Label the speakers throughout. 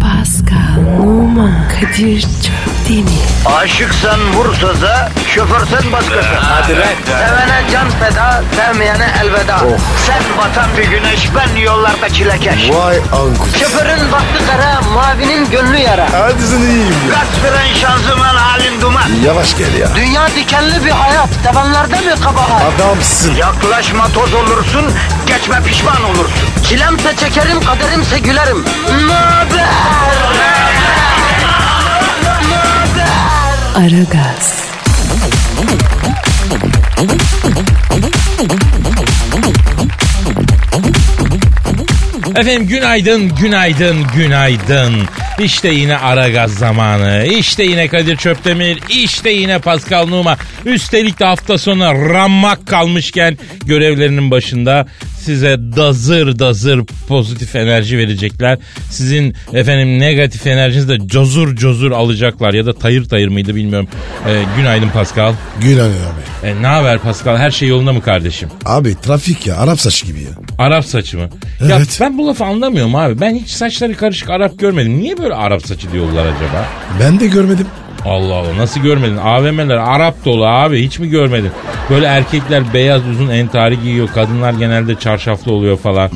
Speaker 1: Pascal, Oman, Kadir çok değil mi?
Speaker 2: Aşıksan vursa da şoförsen başkasın. Hadi
Speaker 3: lan. Oh.
Speaker 2: Sevene can feda, sevmeyene elveda. Sen batan bir güneş, ben yollarda çilekeş.
Speaker 3: Vay anku.
Speaker 2: Şoförün baktı kara, mavinin gönlü yara.
Speaker 3: Hadi sen iyiyim ya.
Speaker 2: Kasperen şanzıman halin duman.
Speaker 3: Yavaş gel ya.
Speaker 2: Dünya dikenli bir hayat, sevenlerde mi kabahar?
Speaker 3: Adamsın.
Speaker 2: Yaklaşma toz olursun, geçme pişman olursun. Çilemse çekerim, kaderimse gülerim. Möber!
Speaker 1: Aragaz,
Speaker 4: Efendim günaydın, günaydın, günaydın. İşte yine ara gaz zamanı. İşte yine Kadir Çöptemir. işte yine Pascal Numa. Üstelik de hafta sonu ramak kalmışken görevlerinin başında size dazır dazır pozitif enerji verecekler. Sizin efendim negatif enerjinizi de cozur cozur alacaklar ya da tayır tayır mıydı bilmiyorum. Ee, günaydın Pascal.
Speaker 3: Günaydın abi.
Speaker 4: Ee, ne haber Pascal? Her şey yolunda mı kardeşim?
Speaker 3: Abi trafik ya Arap saçı gibi ya.
Speaker 4: Arap saçı mı? Ya
Speaker 3: Evet.
Speaker 4: ben bu lafı anlamıyorum abi. Ben hiç saçları karışık Arap görmedim. Niye böyle Arap saçı diyorlar acaba?
Speaker 3: Ben de görmedim.
Speaker 4: Allah Allah nasıl görmedin? AVM'ler Arap dolu abi hiç mi görmedin? Böyle erkekler beyaz uzun entari giyiyor. Kadınlar genelde çarşaflı oluyor falan.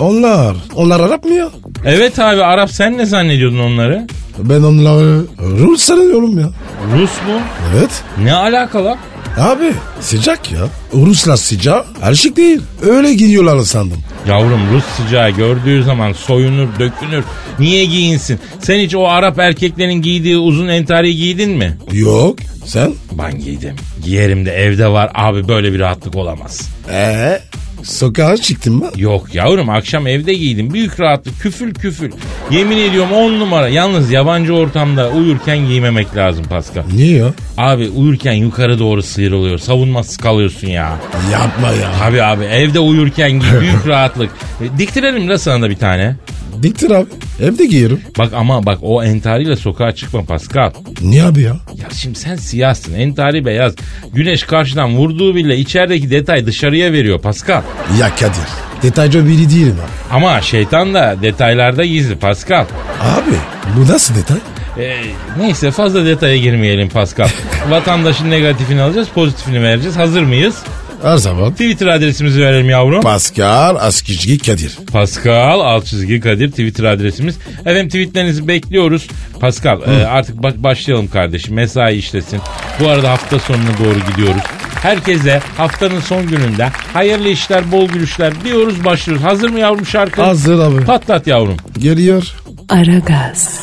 Speaker 3: Onlar. Onlar Arap mı ya?
Speaker 4: Evet abi Arap sen ne zannediyordun onları?
Speaker 3: Ben onları Rus sanıyorum ya.
Speaker 4: Rus mu?
Speaker 3: Evet.
Speaker 4: Ne alakalı?
Speaker 3: Abi sıcak ya. Ruslar sıcak. Erşik değil. Öyle gidiyorlar sandım.
Speaker 4: Yavrum Rus sıcağı gördüğü zaman soyunur, dökünür. Niye giyinsin? Sen hiç o Arap erkeklerin giydiği uzun entari giydin mi?
Speaker 3: Yok. Sen?
Speaker 4: Ben giydim. Giyerim de evde var. Abi böyle bir rahatlık olamaz.
Speaker 3: Ee? Sokağa çıktın mı?
Speaker 4: Yok yavrum akşam evde giydim. Büyük rahatlık küfül küfül. Yemin ediyorum on numara. Yalnız yabancı ortamda uyurken giymemek lazım Pascal.
Speaker 3: Niye ya?
Speaker 4: Abi uyurken yukarı doğru sıyrılıyor. Savunmasız kalıyorsun ya.
Speaker 3: Yapma ya.
Speaker 4: Abi abi evde uyurken giy. Büyük rahatlık. E, Diktirelim la sana da bir tane.
Speaker 3: Diktir abi. Evde giyerim.
Speaker 4: Bak ama bak o entariyle sokağa çıkma Pascal.
Speaker 3: Niye abi ya?
Speaker 4: Ya şimdi sen siyahsın. Entari beyaz. Güneş karşıdan vurduğu bile içerideki detay dışarıya veriyor Pascal.
Speaker 3: Ya Kadir. Detaycı biri değilim abi.
Speaker 4: Ama şeytan da detaylarda gizli Pascal.
Speaker 3: Abi bu nasıl detay?
Speaker 4: Ee, neyse fazla detaya girmeyelim Pascal. Vatandaşın negatifini alacağız, pozitifini vereceğiz. Hazır mıyız?
Speaker 3: Her zaman.
Speaker 4: Twitter adresimizi verelim yavrum.
Speaker 3: Pascal Askizgi Kadir.
Speaker 4: Pascal alt çizgi Kadir Twitter adresimiz. Efendim tweetlerinizi bekliyoruz. Pascal e, artık bak başlayalım kardeşim. Mesai işlesin. Bu arada hafta sonuna doğru gidiyoruz. Herkese haftanın son gününde hayırlı işler, bol gülüşler diyoruz başlıyoruz. Hazır mı yavrum şarkı?
Speaker 3: Hazır abi.
Speaker 4: Patlat yavrum.
Speaker 3: Geliyor.
Speaker 1: Aragaz,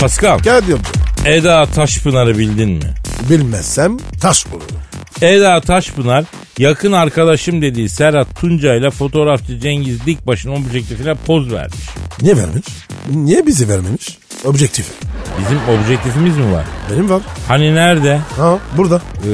Speaker 4: Pascal.
Speaker 3: Kadir
Speaker 4: Eda Taşpınar'ı bildin mi?
Speaker 3: bilmezsem taş bulurum.
Speaker 4: Eda Taşpınar yakın arkadaşım dediği Serhat Tunca ile fotoğrafçı Cengiz Dikbaş'ın objektifine poz vermiş.
Speaker 3: Niye vermiş? Niye bizi vermemiş? Objektif.
Speaker 4: Bizim objektifimiz mi var?
Speaker 3: Benim var.
Speaker 4: Hani nerede?
Speaker 3: Ha burada.
Speaker 4: Ee,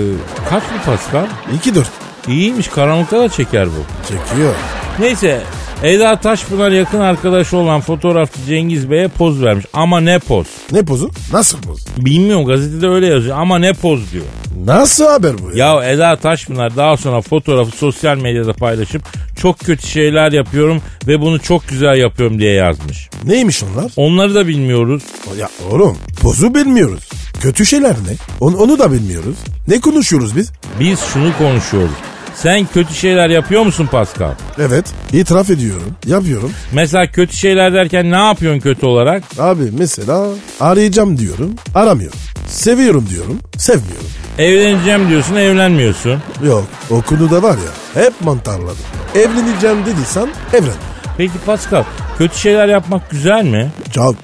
Speaker 4: kaç bu Pascal?
Speaker 3: 2-4.
Speaker 4: İyiymiş karanlıkta da çeker bu.
Speaker 3: Çekiyor.
Speaker 4: Neyse Eda Taşpınar yakın arkadaşı olan fotoğrafçı Cengiz Bey'e poz vermiş. Ama ne poz?
Speaker 3: Ne pozu? Nasıl poz?
Speaker 4: Bilmiyorum gazetede öyle yazıyor ama ne poz diyor.
Speaker 3: Nasıl haber bu?
Speaker 4: Ya Eda Taşpınar daha sonra fotoğrafı sosyal medyada paylaşıp çok kötü şeyler yapıyorum ve bunu çok güzel yapıyorum diye yazmış.
Speaker 5: Neymiş onlar?
Speaker 4: Onları da bilmiyoruz.
Speaker 5: Ya oğlum pozu bilmiyoruz. Kötü şeyler ne? Onu, onu da bilmiyoruz. Ne konuşuyoruz biz?
Speaker 4: Biz şunu konuşuyoruz. Sen kötü şeyler yapıyor musun Pascal?
Speaker 5: Evet itiraf ediyorum. Yapıyorum.
Speaker 4: Mesela kötü şeyler derken ne yapıyorsun kötü olarak?
Speaker 5: Abi mesela arayacağım diyorum. Aramıyorum. Seviyorum diyorum. Sevmiyorum.
Speaker 4: Evleneceğim diyorsun, evlenmiyorsun.
Speaker 5: Yok o konuda var ya hep mantarladım. Evleneceğim dediysen evlen.
Speaker 4: Peki Pascal, kötü şeyler yapmak güzel mi?
Speaker 5: Çok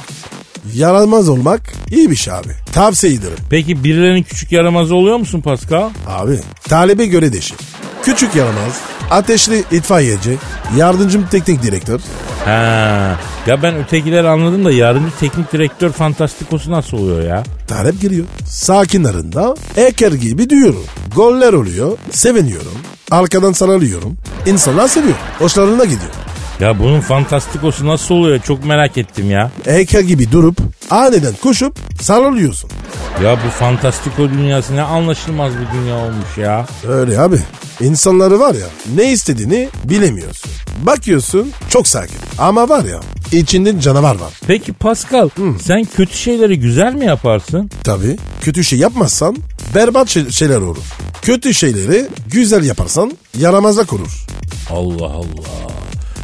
Speaker 5: yaramaz olmak iyi bir şey abi. Tavsiye ederim.
Speaker 4: Peki birilerinin küçük yaramazı oluyor musun Pascal?
Speaker 5: Abi talebe göre değişir. Küçük yaramaz, ateşli itfaiyeci, yardımcım teknik direktör,
Speaker 4: Ha. Ya ben ötekileri anladım da yardımcı teknik direktör fantastikosu nasıl oluyor ya?
Speaker 5: Talep giriyor. Sakin arında eker gibi diyorum. Goller oluyor. Seviniyorum. Arkadan sarılıyorum. İnsanlar seviyor. Hoşlarına gidiyor.
Speaker 4: Ya bunun fantastikosu nasıl oluyor çok merak ettim ya.
Speaker 5: Eker gibi durup aniden koşup sarılıyorsun.
Speaker 4: Ya bu fantastiko dünyası ne anlaşılmaz bir dünya olmuş ya.
Speaker 5: Öyle abi. İnsanları var ya ne istediğini bilemiyorsun. Bakıyorsun çok sakin ama var ya içinde canavar var.
Speaker 4: Peki Pascal sen kötü şeyleri güzel mi yaparsın?
Speaker 5: Tabii kötü şey yapmazsan berbat şey- şeyler olur. Kötü şeyleri güzel yaparsan yaramazlık olur.
Speaker 4: Allah Allah.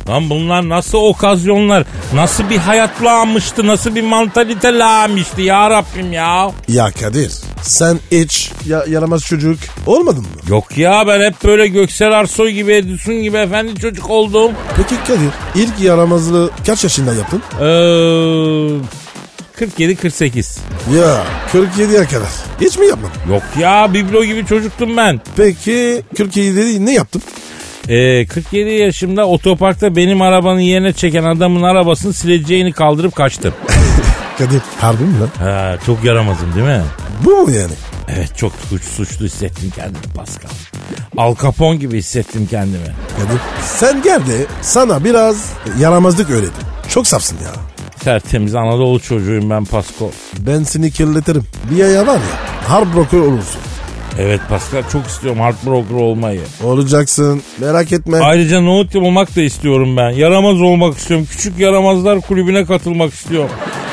Speaker 4: Lan bunlar nasıl okazyonlar, nasıl bir hayat lağmıştı, nasıl bir mantalite lağmıştı ya Rabbim ya.
Speaker 5: Ya Kadir sen hiç ya- yaramaz çocuk olmadın mı?
Speaker 4: Yok ya ben hep böyle Göksel Arsoy gibi, Edison gibi efendi çocuk oldum.
Speaker 5: Peki Kadir ilk yaramazlığı kaç yaşında yaptın?
Speaker 4: Ee, 47-48.
Speaker 5: Ya 47'ye kadar. Hiç mi yapmadın?
Speaker 4: Yok ya biblo gibi çocuktum ben.
Speaker 5: Peki 47'de ne yaptın?
Speaker 4: Ee, 47 yaşımda otoparkta benim arabanın yerine çeken adamın arabasını sileceğini kaldırıp kaçtım.
Speaker 5: Kadir harbi mi lan?
Speaker 4: Ha, çok yaramazım değil mi?
Speaker 5: Bu mu yani?
Speaker 4: Evet çok suç, suçlu hissettim kendimi Pascal. Al Capone gibi hissettim kendimi.
Speaker 5: Kadir sen gel de sana biraz yaramazlık öğretim. Çok safsın ya.
Speaker 4: Tertemiz Anadolu çocuğuyum ben Pasko.
Speaker 5: Ben seni kirletirim. Bir yaya var ya hard broker olursun.
Speaker 4: Evet Pascal çok istiyorum hard broker olmayı.
Speaker 5: Olacaksın merak etme.
Speaker 4: Ayrıca nohut olmak da istiyorum ben. Yaramaz olmak istiyorum. Küçük yaramazlar kulübüne katılmak istiyorum.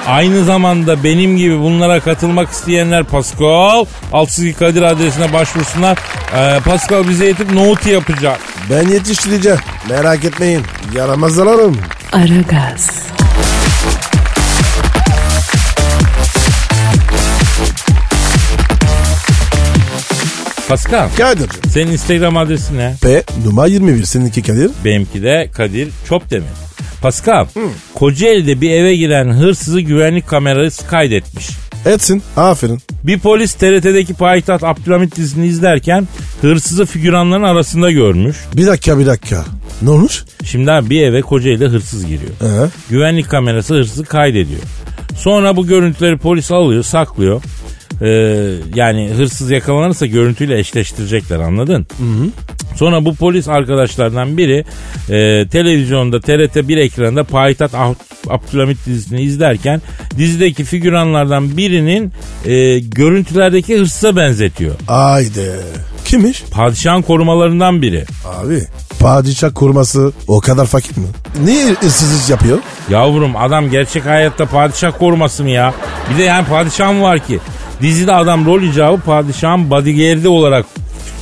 Speaker 4: Aynı zamanda benim gibi bunlara katılmak isteyenler Pascal 62 Kadir adresine başvursunlar. Ee, Pascal bize yetip nohut yapacak.
Speaker 5: Ben yetiştireceğim. Merak etmeyin. Yaramazlarım.
Speaker 1: Aragaz,
Speaker 4: Pascal
Speaker 5: Kadir.
Speaker 4: senin Instagram adresi ne?
Speaker 5: P numara 21 seninki Kadir.
Speaker 4: Benimki de Kadir Çopdemir. Pascal, Kocaeli'de bir eve giren hırsızı güvenlik kamerası kaydetmiş.
Speaker 5: Etsin. Aferin.
Speaker 4: Bir polis TRT'deki Payitaht Abdülhamit dizisini izlerken hırsızı figüranların arasında görmüş.
Speaker 5: Bir dakika bir dakika. Ne olmuş?
Speaker 4: Şimdi abi bir eve Kocaeli'de hırsız giriyor.
Speaker 5: Ee?
Speaker 4: Güvenlik kamerası hırsızı kaydediyor. Sonra bu görüntüleri polis alıyor, saklıyor. Ee, yani hırsız yakalanırsa görüntüyle eşleştirecekler anladın? Sonra bu polis arkadaşlardan biri e, televizyonda TRT 1 ekranında Payitaht Ah- Abdülhamit dizisini izlerken dizideki figüranlardan birinin e, görüntülerdeki hırsıza benzetiyor.
Speaker 5: Haydi. Kimmiş?
Speaker 4: Padişahın korumalarından biri.
Speaker 5: Abi. Padişah kurması o kadar fakir mi? Niye ıssızlık yapıyor?
Speaker 4: Yavrum adam gerçek hayatta padişah koruması mı ya? Bir de yani padişahım var ki. Dizide adam rol icabı padişahın bodyguard'i olarak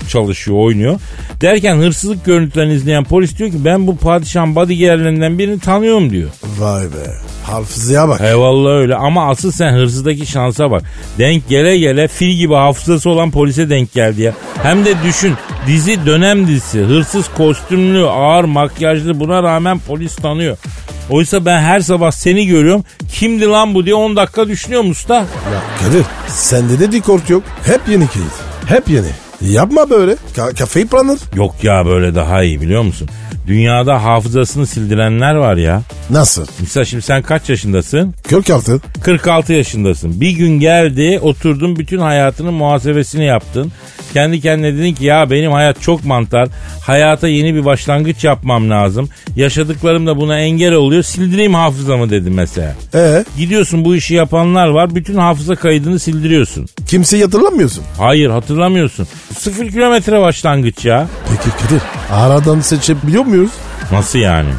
Speaker 4: çalışıyor, oynuyor. Derken hırsızlık görüntülerini izleyen polis diyor ki ben bu padişahın bodyguard'lerinden birini tanıyorum diyor.
Speaker 5: Vay be. Hafızaya bak.
Speaker 4: Eyvallah öyle ama asıl sen hırsızdaki şansa bak. Denk gele gele fil gibi hafızası olan polise denk geldi ya. Hem de düşün dizi dönem dizisi. Hırsız kostümlü, ağır makyajlı buna rağmen polis tanıyor. Oysa ben her sabah seni görüyorum. Kimdi lan bu diye 10 dakika düşünüyorum usta.
Speaker 5: Ya Kadir sende de dikort yok. Hep yeni kilit. Hep yeni. Yapma böyle. Ka- kafayı planır.
Speaker 4: Yok ya böyle daha iyi biliyor musun? Dünyada hafızasını sildirenler var ya.
Speaker 5: Nasıl?
Speaker 4: Mesela şimdi sen kaç yaşındasın?
Speaker 5: 46.
Speaker 4: 46 yaşındasın. Bir gün geldi oturdun bütün hayatının muhasebesini yaptın. Kendi kendine dedin ki ya benim hayat çok mantar. Hayata yeni bir başlangıç yapmam lazım. Yaşadıklarım da buna engel oluyor. Sildireyim hafızamı dedim mesela.
Speaker 5: E
Speaker 4: Gidiyorsun bu işi yapanlar var. Bütün hafıza kaydını sildiriyorsun.
Speaker 5: kimseyi hatırlamıyorsun.
Speaker 4: Hayır hatırlamıyorsun. Sıfır kilometre başlangıç ya.
Speaker 5: Peki Kadir aradan seçebiliyor muyuz?
Speaker 4: Nasıl yani?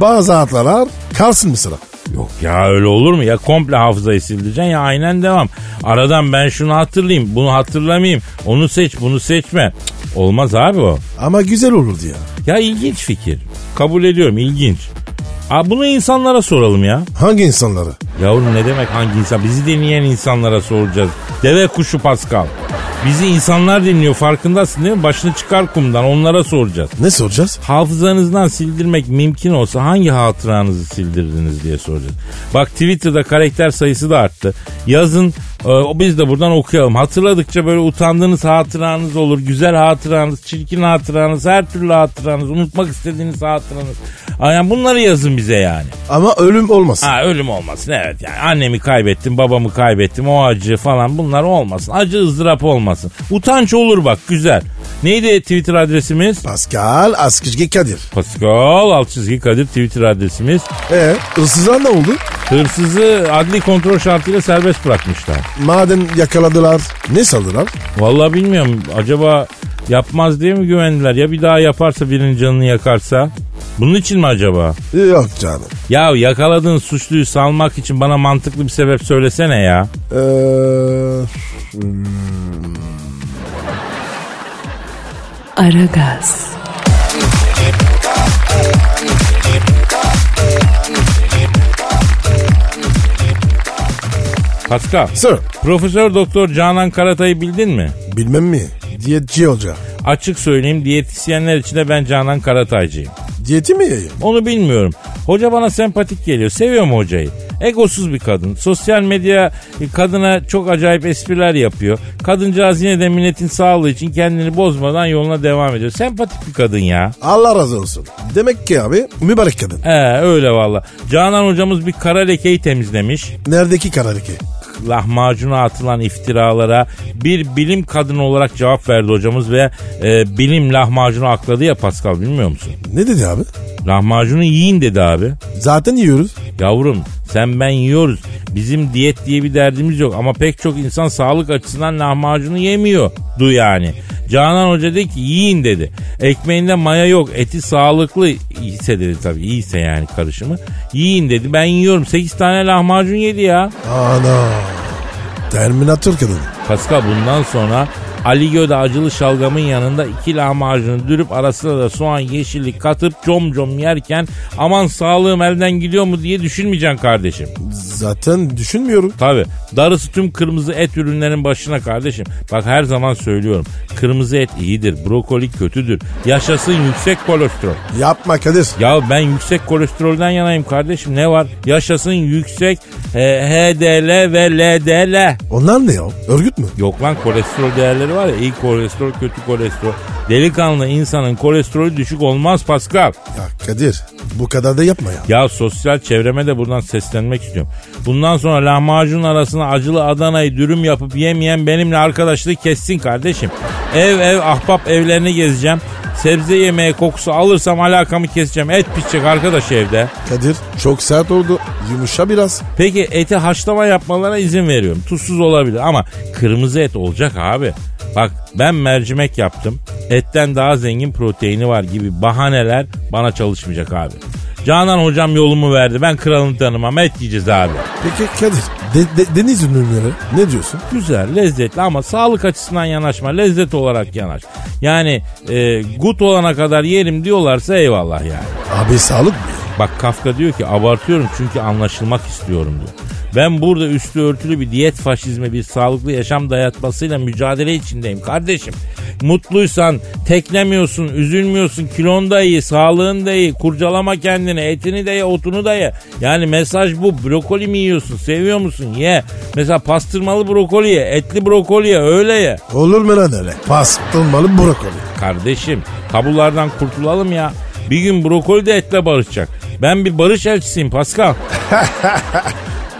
Speaker 5: Bazı hatlar kalsın mı sıra?
Speaker 4: Yok ya öyle olur mu? Ya komple hafızayı sildireceksin ya aynen devam. Aradan ben şunu hatırlayayım, bunu hatırlamayayım. Onu seç, bunu seçme. Cık, olmaz abi o.
Speaker 5: Ama güzel olurdu ya.
Speaker 4: Ya ilginç fikir. Kabul ediyorum ilginç. Aa, bunu insanlara soralım ya.
Speaker 5: Hangi insanları?
Speaker 4: Yavrum ne demek hangi insan? Bizi dinleyen insanlara soracağız. Deve kuşu Pascal. Bizi insanlar dinliyor farkındasın değil mi? Başını çıkar kumdan onlara soracağız.
Speaker 5: Ne soracağız?
Speaker 4: Hafızanızdan sildirmek mümkün olsa hangi hatıranızı sildirdiniz diye soracağız. Bak Twitter'da karakter sayısı da arttı. Yazın e, o- biz de buradan okuyalım. Hatırladıkça böyle utandığınız hatıranız olur. Güzel hatıranız, çirkin hatıranız, her türlü hatıranız, unutmak istediğiniz hatıranız. Yani bunları yazın bize yani.
Speaker 5: Ama ölüm olmasın.
Speaker 4: Ha ölüm olmasın evet yani. Annemi kaybettim, babamı kaybettim, o acı falan bunlar olmasın. Acı ızdırap olmasın. Utanç olur bak güzel. Neydi Twitter adresimiz?
Speaker 5: Pascal Askizgi Kadir.
Speaker 4: Pascal alt çizgi Kadir Twitter adresimiz.
Speaker 5: E ıssızlar ne oldu?
Speaker 4: Hırsızı adli kontrol şartıyla serbest bırakmışlar.
Speaker 5: Madem yakaladılar ne saldılar?
Speaker 4: Vallahi bilmiyorum acaba yapmaz diye mi güvendiler ya bir daha yaparsa birinin canını yakarsa? Bunun için mi acaba?
Speaker 5: Yok canım.
Speaker 4: Ya yakaladığın suçluyu salmak için bana mantıklı bir sebep söylesene ya.
Speaker 5: E, Ee,
Speaker 1: Aragaz,
Speaker 4: Pascal.
Speaker 5: sir
Speaker 4: Profesör Doktor Canan Karatay'ı bildin mi?
Speaker 5: bilmem mi? Diyetçi hoca.
Speaker 4: Açık söyleyeyim diyetisyenler için de ben Canan Karataycıyım.
Speaker 5: Diyeti mi yiyeyim?
Speaker 4: Onu bilmiyorum. Hoca bana sempatik geliyor. Seviyorum hocayı. Egosuz bir kadın. Sosyal medya e, kadına çok acayip espriler yapıyor. Kadıncağız yine de milletin sağlığı için kendini bozmadan yoluna devam ediyor. Sempatik bir kadın ya.
Speaker 5: Allah razı olsun. Demek ki abi mübarek kadın.
Speaker 4: He öyle valla. Canan hocamız bir kara lekeyi temizlemiş.
Speaker 5: Neredeki karariki?
Speaker 4: lahmacuna atılan iftiralara bir bilim kadını olarak cevap verdi hocamız ve e, bilim lahmacunu akladı ya Pascal bilmiyor musun?
Speaker 5: Ne dedi abi?
Speaker 4: Lahmacunu yiyin dedi abi.
Speaker 5: Zaten yiyoruz.
Speaker 4: Yavrum sen ben yiyoruz. Bizim diyet diye bir derdimiz yok ama pek çok insan sağlık açısından lahmacunu yemiyor. Du yani. Canan Hoca dedi ki yiyin dedi. Ekmeğinde maya yok. Eti sağlıklı ise dedi tabii. iyiyse yani karışımı. Yiyin dedi. Ben yiyorum. 8 tane lahmacun yedi ya.
Speaker 5: Ana. Terminator kadını.
Speaker 4: Pascal bundan sonra Ali Gö'de acılı şalgamın yanında iki lahmacunu dürüp arasına da soğan yeşillik katıp com com yerken aman sağlığım elden gidiyor mu diye düşünmeyeceksin kardeşim.
Speaker 5: Zaten düşünmüyorum.
Speaker 4: Tabi darısı tüm kırmızı et ürünlerin başına kardeşim. Bak her zaman söylüyorum kırmızı et iyidir brokoli kötüdür yaşasın yüksek kolesterol.
Speaker 5: Yapma Kadir.
Speaker 4: Ya ben yüksek kolesterolden yanayım kardeşim ne var yaşasın yüksek e, HDL ve LDL.
Speaker 5: Onlar ne ya? Örgüt mü?
Speaker 4: Yok lan kolesterol değerleri var ya iyi kolesterol kötü kolesterol. Delikanlı insanın kolesterolü düşük olmaz Pascal.
Speaker 5: Ya Kadir bu kadar da yapma ya.
Speaker 4: Ya sosyal çevreme de buradan seslenmek istiyorum. Bundan sonra lahmacun arasına acılı Adana'yı dürüm yapıp yemeyen benimle arkadaşlığı kessin kardeşim. Ev ev ahbap evlerini gezeceğim. Sebze yemeği kokusu alırsam alakamı keseceğim. Et pişecek arkadaş evde.
Speaker 5: Kadir çok sert oldu. Yumuşa biraz.
Speaker 4: Peki eti haşlama yapmalarına izin veriyorum. Tuzsuz olabilir ama kırmızı et olacak abi. Bak ben mercimek yaptım. Etten daha zengin proteini var gibi bahaneler bana çalışmayacak abi. Canan hocam yolumu verdi. Ben kralını tanımam. Et yiyeceğiz abi.
Speaker 5: Peki Kadir de- de- deniz ürünleri ne diyorsun?
Speaker 4: Güzel, lezzetli ama sağlık açısından yanaşma. Lezzet olarak yanaş. Yani e, gut olana kadar yerim diyorlarsa eyvallah yani.
Speaker 5: Abi sağlık mı?
Speaker 4: Bak Kafka diyor ki abartıyorum çünkü anlaşılmak istiyorum diyor. Ben burada üstü örtülü bir diyet faşizmi, bir sağlıklı yaşam dayatmasıyla mücadele içindeyim kardeşim. Mutluysan, teklemiyorsun, üzülmüyorsun, kilon da iyi, sağlığın da iyi, kurcalama kendini, etini de ye, otunu da ye. Yani mesaj bu, brokoli mi yiyorsun, seviyor musun, ye. Mesela pastırmalı brokoli ye, etli brokoli ye, öyle ye.
Speaker 5: Olur mu lan öyle? Pastırmalı brokoli.
Speaker 4: Kardeşim tabulardan kurtulalım ya. Bir gün brokoli de etle barışacak. Ben bir barış elçisiyim Pascal.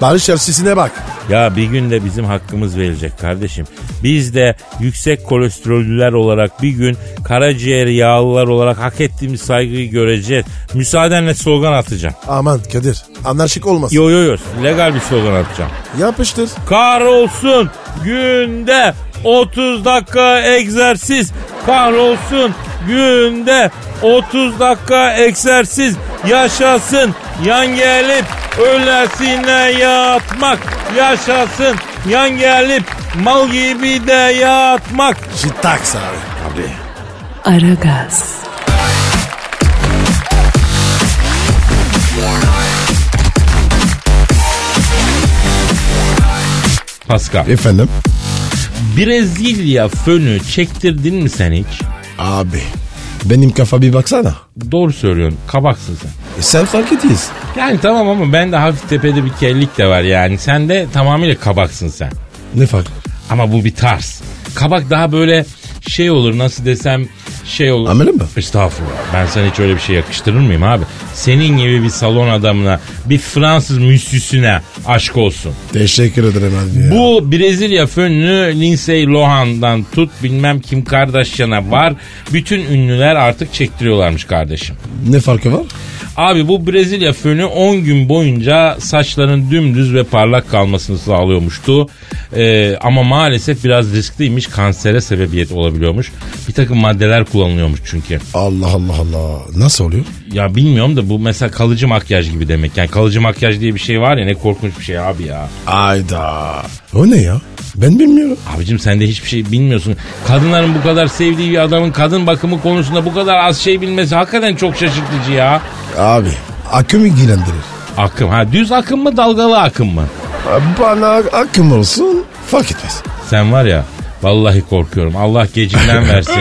Speaker 5: Barış elçisine bak.
Speaker 4: Ya bir gün de bizim hakkımız verilecek kardeşim. Biz de yüksek kolesterollüler olarak bir gün karaciğer yağlılar olarak hak ettiğimiz saygıyı göreceğiz. Müsaadenle slogan atacağım.
Speaker 5: Aman Kadir anarşik olmasın.
Speaker 4: Yo yo yo legal bir slogan atacağım.
Speaker 5: Yapıştır.
Speaker 4: Kahrolsun günde 30 dakika egzersiz. Kahrolsun günde 30 dakika egzersiz. Yaşasın yan gelip öylesine yatmak. Yaşasın yan gelip mal gibi de yatmak.
Speaker 5: Jitaks abi.
Speaker 1: Aragaz,
Speaker 4: Pascal.
Speaker 5: Efendim?
Speaker 4: Brezilya fönü çektirdin mi sen hiç?
Speaker 5: Abi benim kafa bir baksana.
Speaker 4: Doğru söylüyorsun kabaksın sen.
Speaker 5: E sen fark etiyiz.
Speaker 4: Yani tamam ama ben de hafif tepede bir kellik de var yani. Sen de tamamıyla kabaksın sen.
Speaker 5: Ne fark?
Speaker 4: Ama bu bir tarz. Kabak daha böyle şey olur nasıl desem şey olur.
Speaker 5: Ameli mi?
Speaker 4: Estağfurullah. Ben sana hiç öyle bir şey yakıştırır mıyım abi? Senin gibi bir salon adamına, bir Fransız müsüsüne aşk olsun.
Speaker 5: Teşekkür ederim abi. Bu...
Speaker 4: Bu Brezilya fönlü Lindsay Lohan'dan tut bilmem kim Kardashian'a var. Bütün ünlüler artık çektiriyorlarmış kardeşim.
Speaker 5: Ne farkı var?
Speaker 4: Abi bu Brezilya fönü 10 gün boyunca saçların dümdüz ve parlak kalmasını sağlıyormuştu. Ee, ama maalesef biraz riskliymiş. Kansere sebebiyet olabiliyormuş. Bir takım maddeler kullanılıyormuş çünkü.
Speaker 5: Allah Allah Allah. Nasıl oluyor?
Speaker 4: Ya bilmiyorum da bu mesela kalıcı makyaj gibi demek. Yani kalıcı makyaj diye bir şey var ya ne korkunç bir şey abi ya.
Speaker 5: Ayda. O ne ya? Ben bilmiyorum.
Speaker 4: Abicim sen de hiçbir şey bilmiyorsun. Kadınların bu kadar sevdiği bir adamın kadın bakımı konusunda bu kadar az şey bilmesi hakikaten çok şaşırtıcı ya.
Speaker 5: Abi akım ilgilendirir.
Speaker 4: Akım ha düz akım mı dalgalı akım mı?
Speaker 5: Bana akım olsun fark etmez.
Speaker 4: Sen var ya vallahi korkuyorum. Allah gecinden versin.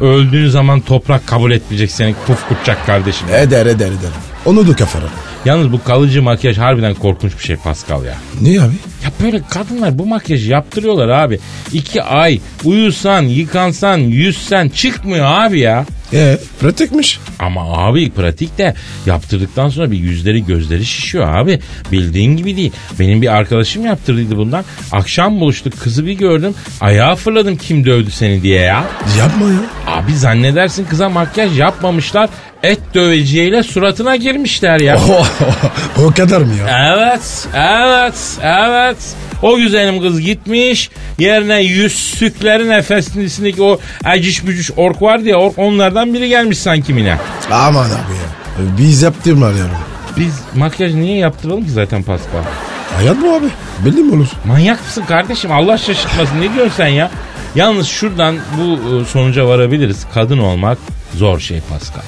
Speaker 4: Öldüğün zaman toprak kabul etmeyecek seni pufkutacak kardeşim.
Speaker 5: Eder eder eder. Onu da kafana.
Speaker 4: Yalnız bu kalıcı makyaj harbiden korkunç bir şey Pascal ya.
Speaker 5: Niye abi?
Speaker 4: Ya böyle kadınlar bu makyajı yaptırıyorlar abi. İki ay uyusan, yıkansan, yüzsen çıkmıyor abi ya.
Speaker 5: E pratikmiş.
Speaker 4: Ama abi pratik de yaptırdıktan sonra bir yüzleri gözleri şişiyor abi. Bildiğin gibi değil. Benim bir arkadaşım yaptırdıydı bundan. Akşam buluştuk kızı bir gördüm. Ayağa fırladım kim dövdü seni diye ya.
Speaker 5: Yapma ya.
Speaker 4: Abi zannedersin kıza makyaj yapmamışlar. Et döveciyle suratına girmişler ya.
Speaker 5: o kadar mı ya?
Speaker 4: Evet, evet, evet. O güzelim kız gitmiş. Yerine yüzsüklerin efesindeki o aciş bücüş ork var diye ork onlardan biri gelmiş sanki mine.
Speaker 5: Aman abi ya. Biz yaptırmayalım.
Speaker 4: Biz makyaj niye yaptıralım ki zaten Pascal?
Speaker 5: Hayat bu abi. Belli mi olur?
Speaker 4: Manyak mısın kardeşim? Allah şaşırtmasın. Ne diyorsun sen ya? Yalnız şuradan bu e, sonuca varabiliriz. Kadın olmak zor şey Pascal.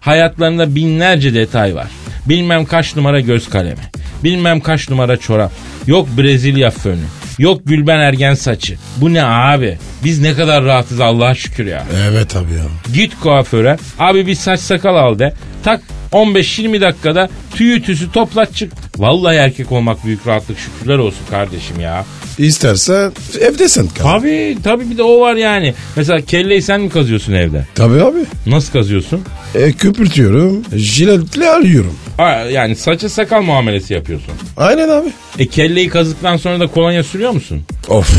Speaker 4: Hayatlarında binlerce detay var. Bilmem kaç numara göz kalemi. Bilmem kaç numara çorap. Yok Brezilya fönü. Yok Gülben Ergen saçı. Bu ne abi? Biz ne kadar rahatız Allah'a şükür ya.
Speaker 5: Evet abi ya.
Speaker 4: Git kuaföre. Abi bir saç sakal al de. Tak 15-20 dakikada tüyü tüsü toplat çık. Vallahi erkek olmak büyük rahatlık şükürler olsun kardeşim ya.
Speaker 5: İstersen evde sen kal.
Speaker 4: Tabii tabii bir de o var yani. Mesela kelleyi sen mi kazıyorsun evde?
Speaker 5: Tabii abi.
Speaker 4: Nasıl kazıyorsun?
Speaker 5: E, köpürtüyorum. Jiletle arıyorum.
Speaker 4: Ha, yani saça sakal muamelesi yapıyorsun.
Speaker 5: Aynen abi.
Speaker 4: E kelleyi kazıktan sonra da kolonya sürüyor musun?
Speaker 5: Of.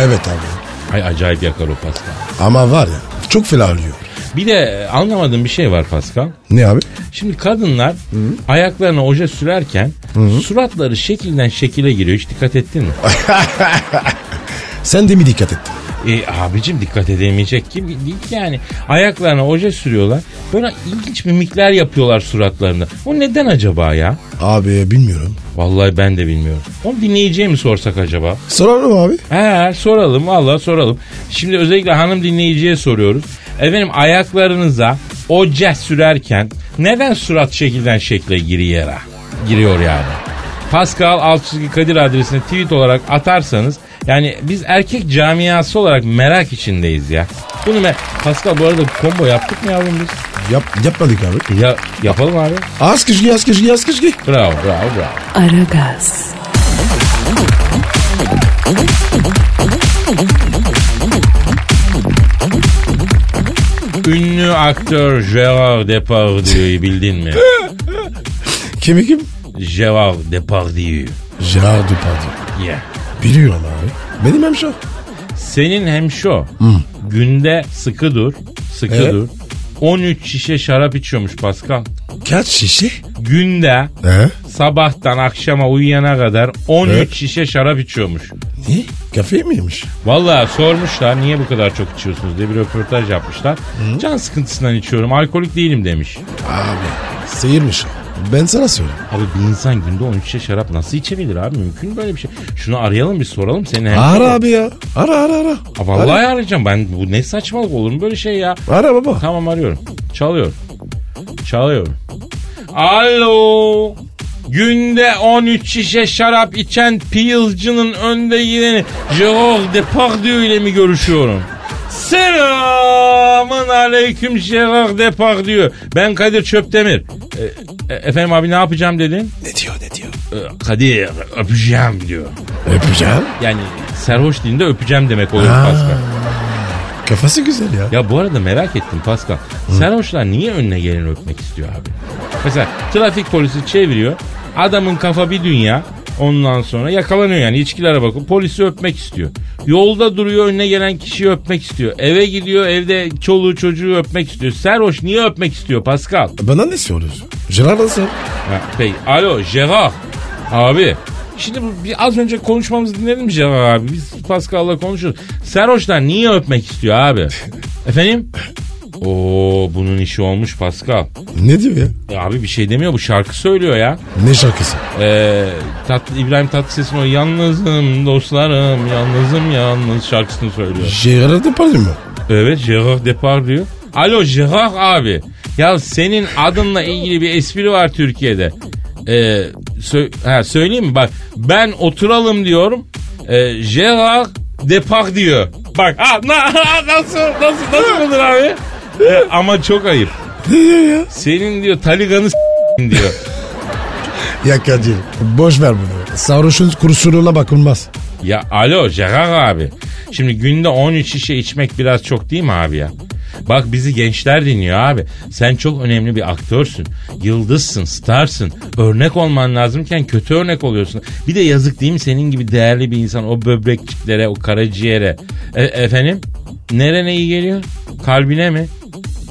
Speaker 5: Evet abi.
Speaker 4: Ay acayip yakar o Pascal.
Speaker 5: Ama var ya çok fena arıyor.
Speaker 4: Bir de e, anlamadığım bir şey var Pascal.
Speaker 5: Ne abi?
Speaker 4: Şimdi kadınlar ayaklarına oje sürerken suratları şekilden şekile giriyor. Hiç dikkat ettin mi?
Speaker 5: Sen de mi dikkat ettin?
Speaker 4: E abicim dikkat edemeyecek gibi değil ki yani. Ayaklarına oje sürüyorlar. Böyle ilginç mimikler yapıyorlar suratlarında. O neden acaba ya?
Speaker 5: Abi bilmiyorum.
Speaker 4: Vallahi ben de bilmiyorum. Onu dinleyiciye mi sorsak acaba?
Speaker 5: Sorarım abi.
Speaker 4: He soralım vallahi soralım. Şimdi özellikle hanım dinleyiciye soruyoruz. Efendim ayaklarınıza oca sürerken neden surat şekilden şekle giriyor? Giriyor yani. Pascal Altçizgi Kadir adresine tweet olarak atarsanız yani biz erkek camiası olarak merak içindeyiz ya. Bunu me- Pascal bu arada combo yaptık mı yavrum biz?
Speaker 5: Yap, yapmadık abi.
Speaker 4: Ya, yapalım abi.
Speaker 5: Az kışkı az kışkı az kışkı.
Speaker 4: Bravo bravo bravo.
Speaker 1: Aragaz,
Speaker 4: Ünlü aktör Gerard Depardieu'yu bildin mi?
Speaker 5: Kimi kim?
Speaker 4: Gerard Depardieu.
Speaker 5: Gerard Depardieu.
Speaker 4: Yeah.
Speaker 5: Biliyorum abi. Benim hemşo.
Speaker 4: Senin hem şu. Günde sıkı dur, sıkı
Speaker 5: Evet.
Speaker 4: dur. 13 şişe şarap içiyormuş Pascal.
Speaker 5: Kaç şişe?
Speaker 4: Günde
Speaker 5: He?
Speaker 4: sabahtan akşama uyuyana kadar 13 şişe şarap içiyormuş.
Speaker 5: Ne? Kafayı mı yemiş?
Speaker 4: Vallahi sormuşlar niye bu kadar çok içiyorsunuz diye bir röportaj yapmışlar. Can sıkıntısından içiyorum, alkolik değilim demiş.
Speaker 5: Abi seyirmiş o. Ben sana söyleyeyim.
Speaker 4: Abi bir insan günde 13 şişe şarap nasıl içebilir abi? Mümkün mü böyle bir şey? Şunu arayalım bir soralım senin hem.
Speaker 5: Ara abi ya. Ara ara ara.
Speaker 4: Aa, Vallahi arayacağım ben. Bu ne saçmalık olur mu böyle şey ya?
Speaker 5: Ara baba.
Speaker 4: Tamam arıyorum. Çalıyorum. Çalıyorum. Alo. Günde 13 şişe şarap içen piyılcının önde gideni Gerard Depardieu ile mi görüşüyorum? Selamın aleyküm Gerard Depardieu. Ben Kadir Çöptemir. E, e, efendim abi ne yapacağım dedin?
Speaker 5: Ne diyor ne diyor?
Speaker 4: E, Kadir öpeceğim diyor.
Speaker 3: E,
Speaker 5: Öpeceğim.
Speaker 4: Yani serhoş dilinde öpeceğim demek oluyor
Speaker 5: Ha.
Speaker 4: Pascal.
Speaker 5: Kafası güzel ya.
Speaker 4: Ya bu arada merak ettim Pascal. Sarhoşlar niye önüne geleni öpmek istiyor abi? Mesela trafik polisi çeviriyor. Adamın kafa bir dünya. Ondan sonra yakalanıyor yani içkilere bakıp polisi öpmek istiyor. Yolda duruyor önüne gelen kişiyi öpmek istiyor. Eve gidiyor evde çoluğu çocuğu öpmek istiyor. Serhoş niye öpmek istiyor Pascal?
Speaker 3: Bana ne soruyorsun? Gerard nasıl?
Speaker 4: Ha, peki. Alo Gerard. Abi. Şimdi bu, bir az önce konuşmamızı dinledin mi Gerard abi? Biz Pascal'la konuşuyoruz. Serhoşlar niye öpmek istiyor abi? Efendim? Oo bunun işi olmuş Pascal.
Speaker 3: Ne diyor ya?
Speaker 4: E, abi bir şey demiyor bu şarkı söylüyor ya.
Speaker 3: Ne şarkısı?
Speaker 4: Ee, tatlı, İbrahim Tatlıses'in o yalnızım dostlarım yalnızım yalnız şarkısını söylüyor.
Speaker 3: Gerard Depardieu mu?
Speaker 4: Evet Gerard Depardieu. Alo Gerard abi. Ya senin adınla ilgili bir espri var Türkiye'de. Ee, sö- ha, söyleyeyim mi? Bak ben oturalım diyorum. Ee, Gerard Depardieu. Bak ha, na- nasıl, nasıl, nasıl olur abi? Ee, ama çok ayıp.
Speaker 3: Ne diyor ya?
Speaker 4: Senin diyor taliganı s- diyor.
Speaker 3: Ya Kadir boş ver bunu. Sarhoşun kurusuruna bakılmaz.
Speaker 4: Ya alo Gerard abi. Şimdi günde 13 şişe içmek biraz çok değil mi abi ya? Bak bizi gençler dinliyor abi. Sen çok önemli bir aktörsün. Yıldızsın, starsın. Örnek olman lazımken kötü örnek oluyorsun. Bir de yazık değil mi senin gibi değerli bir insan o böbrekçiklere, o karaciğere. E- efendim? Nerene iyi geliyor? Kalbine mi?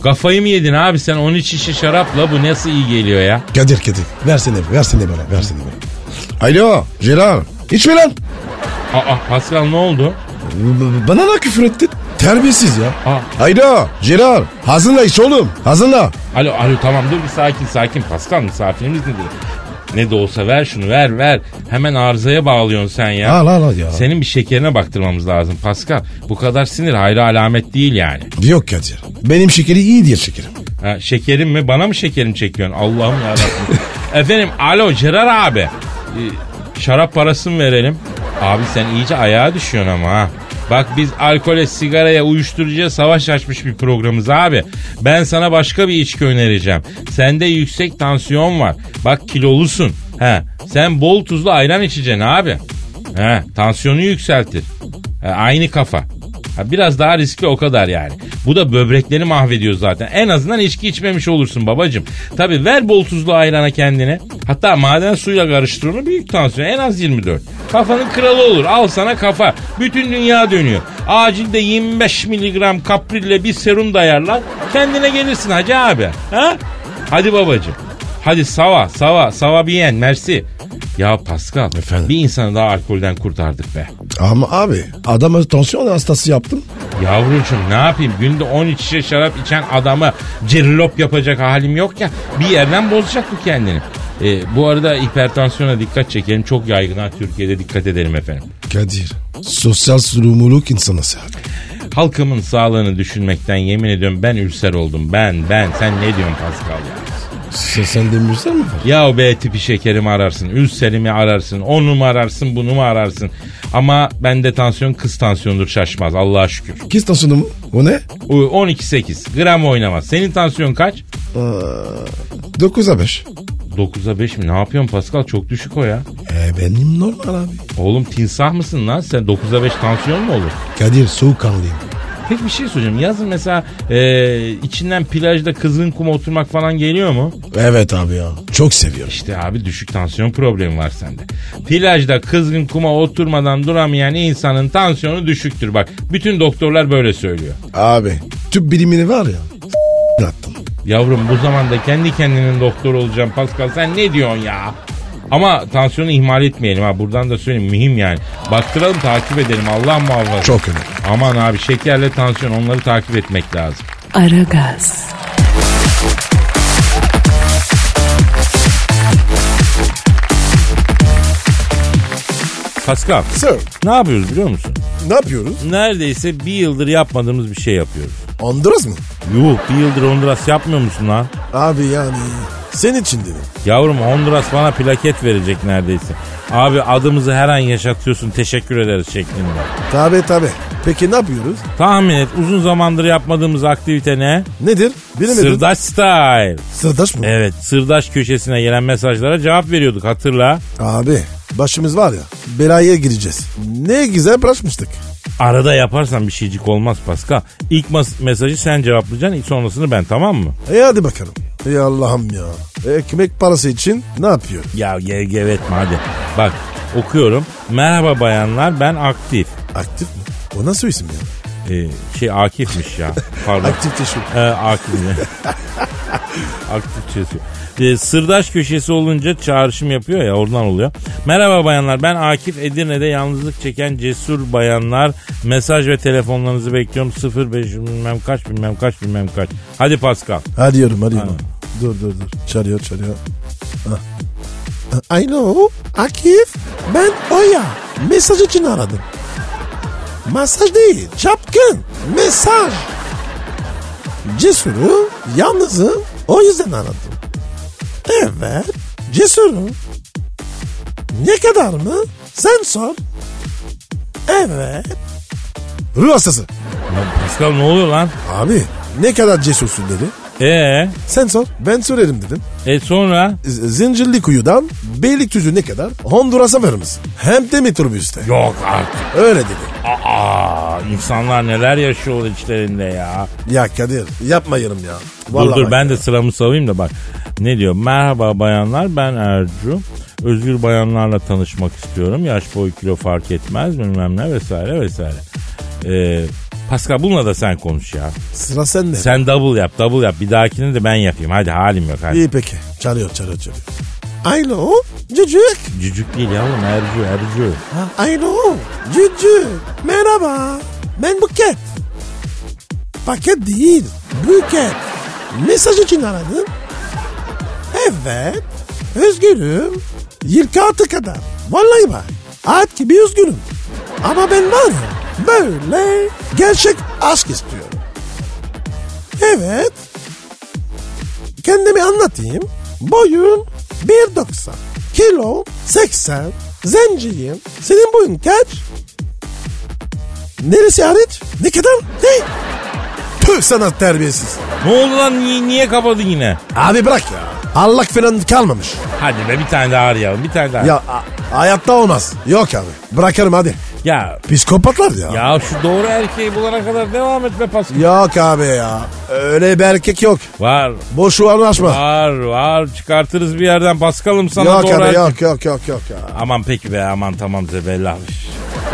Speaker 4: Kafayı mı yedin abi sen 13 şişe şarapla bu nasıl iyi geliyor ya?
Speaker 3: Kadir Kadir versene versene bana versene bana. Alo Gerard içme lan.
Speaker 4: Aa Pascal ne oldu?
Speaker 3: B- Bana da küfür ettin. Terbiyesiz ya.
Speaker 4: Aa,
Speaker 3: Alo Gerard hazırla iç oğlum hazırla.
Speaker 4: Alo alo tamam dur bir sakin sakin Pascal misafirimiz nedir? Ne de olsa ver şunu ver ver. Hemen arızaya bağlıyorsun sen ya.
Speaker 3: Al al al ya.
Speaker 4: Senin bir şekerine baktırmamız lazım Pascal. Bu kadar sinir hayra alamet değil yani.
Speaker 3: Yok Kadir benim şekeri iyi diye şekerim.
Speaker 4: Ha, şekerim mi? Bana mı şekerim çekiyorsun? Allah'ım yarabbim. Efendim alo Cerar abi. Ee, şarap parasını verelim. Abi sen iyice ayağa düşüyorsun ama ha. Bak biz alkole, sigaraya, uyuşturucuya savaş açmış bir programız abi. Ben sana başka bir içki önereceğim. Sende yüksek tansiyon var. Bak kilolusun. He. Sen bol tuzlu ayran içeceksin abi. He. Tansiyonu yükseltir. He, aynı kafa. Ha, biraz daha riskli o kadar yani. Bu da böbrekleri mahvediyor zaten. En azından içki içmemiş olursun babacım. Tabi ver bol tuzlu ayrana kendine. Hatta maden suyuyla karıştır onu büyük tansiyon en az 24. Kafanın kralı olur al sana kafa. Bütün dünya dönüyor. Acilde 25 miligram kaprille bir serum dayarlar. Kendine gelirsin hacı abi. Ha? Hadi babacım. Hadi sava sava sava biyen mersi. Ya Pascal
Speaker 3: Efendim?
Speaker 4: bir insanı daha alkolden kurtardık be.
Speaker 3: Ama abi adama tansiyon hastası yaptım.
Speaker 4: Yavrucuğum ne yapayım günde 13 şişe şarap içen adamı cirlop yapacak halim yok ya bir yerden bozacak bu kendini. Ee, bu arada hipertansiyona dikkat çekelim çok yaygın ha Türkiye'de dikkat edelim efendim.
Speaker 3: Kadir sosyal sorumluluk insanı sen.
Speaker 4: Halkımın sağlığını düşünmekten yemin ediyorum ben ülser oldum ben ben sen ne diyorsun Pascal ya?
Speaker 3: Sen, sen demirsen mi var?
Speaker 4: Ya B tipi şekerimi ararsın, ülserimi ararsın, onu mu ararsın, bunu mu ararsın? Ama bende tansiyon kız tansiyondur şaşmaz Allah'a şükür.
Speaker 3: Kız tansiyonu mu? O ne?
Speaker 4: O- 12-8 gram oynamaz. Senin tansiyon kaç?
Speaker 3: 9'a 5.
Speaker 4: 9'a 5 mi? Ne yapıyorsun Pascal? Çok düşük o ya.
Speaker 3: E benim normal abi.
Speaker 4: Oğlum tinsah mısın lan sen? 9'a 5 tansiyon mu olur?
Speaker 3: Kadir soğukkanlıyım.
Speaker 4: Peki bir şey soracağım. Yazın mesela e, içinden plajda kızgın kuma oturmak falan geliyor mu?
Speaker 3: Evet abi ya. Çok seviyorum.
Speaker 4: İşte abi düşük tansiyon problemi var sende. Plajda kızgın kuma oturmadan duramayan insanın tansiyonu düşüktür bak. Bütün doktorlar böyle söylüyor.
Speaker 3: Abi tüp bilimini var ya. s- attım.
Speaker 4: Yavrum bu zamanda kendi kendinin doktor olacağım Pascal sen ne diyorsun ya? Ama tansiyonu ihmal etmeyelim ha buradan da söyleyeyim mühim yani. Baktıralım takip edelim Allah muhafaza.
Speaker 3: Çok önemli.
Speaker 4: Aman abi şekerle tansiyon onları takip etmek lazım.
Speaker 1: Aragaz,
Speaker 4: Pascal
Speaker 5: Sir
Speaker 4: ne yapıyoruz biliyor musun?
Speaker 5: ne yapıyoruz?
Speaker 4: Neredeyse bir yıldır yapmadığımız bir şey yapıyoruz.
Speaker 5: Andırız mı?
Speaker 4: Yuh bir yıldır Honduras yapmıyor musun lan?
Speaker 5: Abi yani senin için dedim.
Speaker 4: Yavrum Honduras bana plaket verecek neredeyse. Abi adımızı her an yaşatıyorsun teşekkür ederiz şeklinde.
Speaker 5: Tabi tabi. Peki ne yapıyoruz?
Speaker 4: Tahmin et uzun zamandır yapmadığımız aktivite ne?
Speaker 5: Nedir? Bilemedim.
Speaker 4: Sırdaş Style.
Speaker 5: Sırdaş mı?
Speaker 4: Evet sırdaş köşesine gelen mesajlara cevap veriyorduk hatırla.
Speaker 5: Abi başımız var ya belaya gireceğiz. Ne güzel bırakmıştık.
Speaker 4: Arada yaparsan bir şeycik olmaz Pascal. İlk mas- mesajı sen cevaplayacaksın ilk sonrasını ben tamam mı?
Speaker 5: E hadi bakalım. Ey Allah'ım ya. Ekmek parası için ne yapıyor?
Speaker 4: Ya gevgev etme hadi. Bak Okuyorum. Merhaba bayanlar ben aktif.
Speaker 5: Aktif mi? O nasıl isim ya?
Speaker 4: Ee, şey Akif'miş ya. Pardon.
Speaker 5: Aktif teşvik.
Speaker 4: Ee, aktif. aktif çeşit. Ee, sırdaş köşesi olunca çağrışım yapıyor ya oradan oluyor. Merhaba bayanlar ben Akif Edirne'de yalnızlık çeken cesur bayanlar. Mesaj ve telefonlarınızı bekliyorum 05 bilmem kaç bilmem kaç bilmem kaç. Hadi Pascal.
Speaker 5: Hadi yorum hadi yorum. Dur dur dur. Çalıyor çalıyor. Ah. Alo Akif ben Oya. Mesaj için aradım. Masaj değil çapkın. Mesaj. Cesurum yalnızım o yüzden aradım. Evet cesurum. Ne kadar mı? Sen sor. Evet.
Speaker 3: Ruh hastası.
Speaker 4: Ya Pascal ne oluyor lan?
Speaker 5: Abi ne kadar cesursun dedi.
Speaker 4: Ee,
Speaker 5: Sen sor ben söylerim dedim.
Speaker 4: e sonra?
Speaker 5: Z- Zincirli kuyudan Beylikdüzü ne kadar? Honduras'a veririz. Hem de metrobüste.
Speaker 4: Yok artık.
Speaker 5: Öyle dedi.
Speaker 4: Aa, insanlar neler yaşıyor içlerinde ya.
Speaker 5: Ya Kadir yapma yarım ya.
Speaker 4: Dur
Speaker 5: Vallahi
Speaker 4: dur
Speaker 5: bak
Speaker 4: ben
Speaker 5: ya.
Speaker 4: de sıramı savayım da bak. Ne diyor? Merhaba bayanlar ben Ercu. Özgür bayanlarla tanışmak istiyorum. Yaş boy kilo fark etmez bilmem ne vesaire vesaire. Ee, Pascal bununla da sen konuş ya.
Speaker 5: Sıra sende.
Speaker 4: Sen double yap double yap. Bir dahakini de ben yapayım. Hadi halim yok hadi.
Speaker 5: İyi peki. Çalıyor çalıyor çalıyor. Alo cücük.
Speaker 4: Cücük değil yavrum Ercu Ercu.
Speaker 5: Alo cücük. Merhaba. Ben Buket. Paket değil. Buket. Mesaj için aradım. Evet. Özgürüm. 26 kadar. Vallahi bak. At gibi özgürüm. Ama ben var ya böyle gerçek aşk istiyorum. Evet. Kendimi anlatayım. Boyum 1.90. Kilo 80. Zenciyim. Senin boyun kaç? Neresi hariç? Ne kadar? Ne? Tüh sana terbiyesiz.
Speaker 4: Ne oldu lan niye, niye kapadın yine?
Speaker 5: Abi bırak ya. Allah falan kalmamış.
Speaker 4: Hadi be bir tane daha arayalım bir tane daha. Ya,
Speaker 5: Ya a- hayatta olmaz. Yok abi. Bırakarım hadi.
Speaker 4: ya,
Speaker 5: Psikopatlar ya.
Speaker 4: şu doğru erkeği bulana kadar devam et be Pascal.
Speaker 5: Yok abi ya. Öyle bir erkek yok.
Speaker 4: Var
Speaker 5: Boş uğraşma.
Speaker 4: var var çıkartırız bir yerden Pascal'ım sana
Speaker 5: Yok
Speaker 4: doğru
Speaker 5: abi
Speaker 4: erkeği
Speaker 5: yok yok yok yok ya.
Speaker 4: Aman peki be aman tamam Zebella.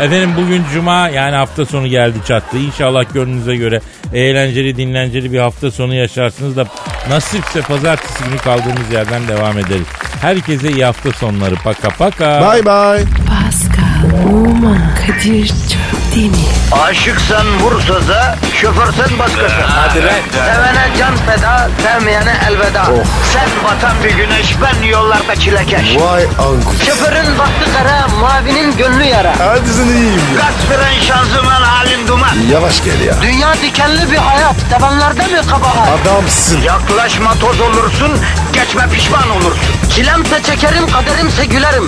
Speaker 4: Efendim bugün cuma yani hafta sonu geldi çattı. İnşallah gönlünüze göre eğlenceli dinlenceli bir hafta sonu yaşarsınız da nasipse pazartesi günü kaldığımız yerden devam ederiz. Herkese iyi hafta sonları paka paka.
Speaker 5: Bye bye.
Speaker 1: Pascal, Oman, Kadir çok değil mi?
Speaker 2: Aşıksan vursa da, şoförsen başkasın. Hadi Sevene can feda, sevmeyene elveda. Sen batan bir güneş, ben yollarda çilekeş.
Speaker 5: Vay anku.
Speaker 2: Şoförün baktı kara, mavinin gönlü yara.
Speaker 5: Hadi sen iyiyim ya.
Speaker 2: Kasperen şanzıman halin duman.
Speaker 5: Yavaş gel ya.
Speaker 2: Dünya dikenli bir hayat, sevenlerde mi kabahar?
Speaker 5: Adamsın.
Speaker 2: Yaklaşma toz olursun, geçme pişman olursun. Çilemse çekerim, kaderimse gülerim.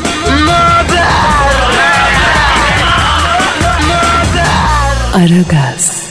Speaker 2: Möber!
Speaker 1: Aragaz.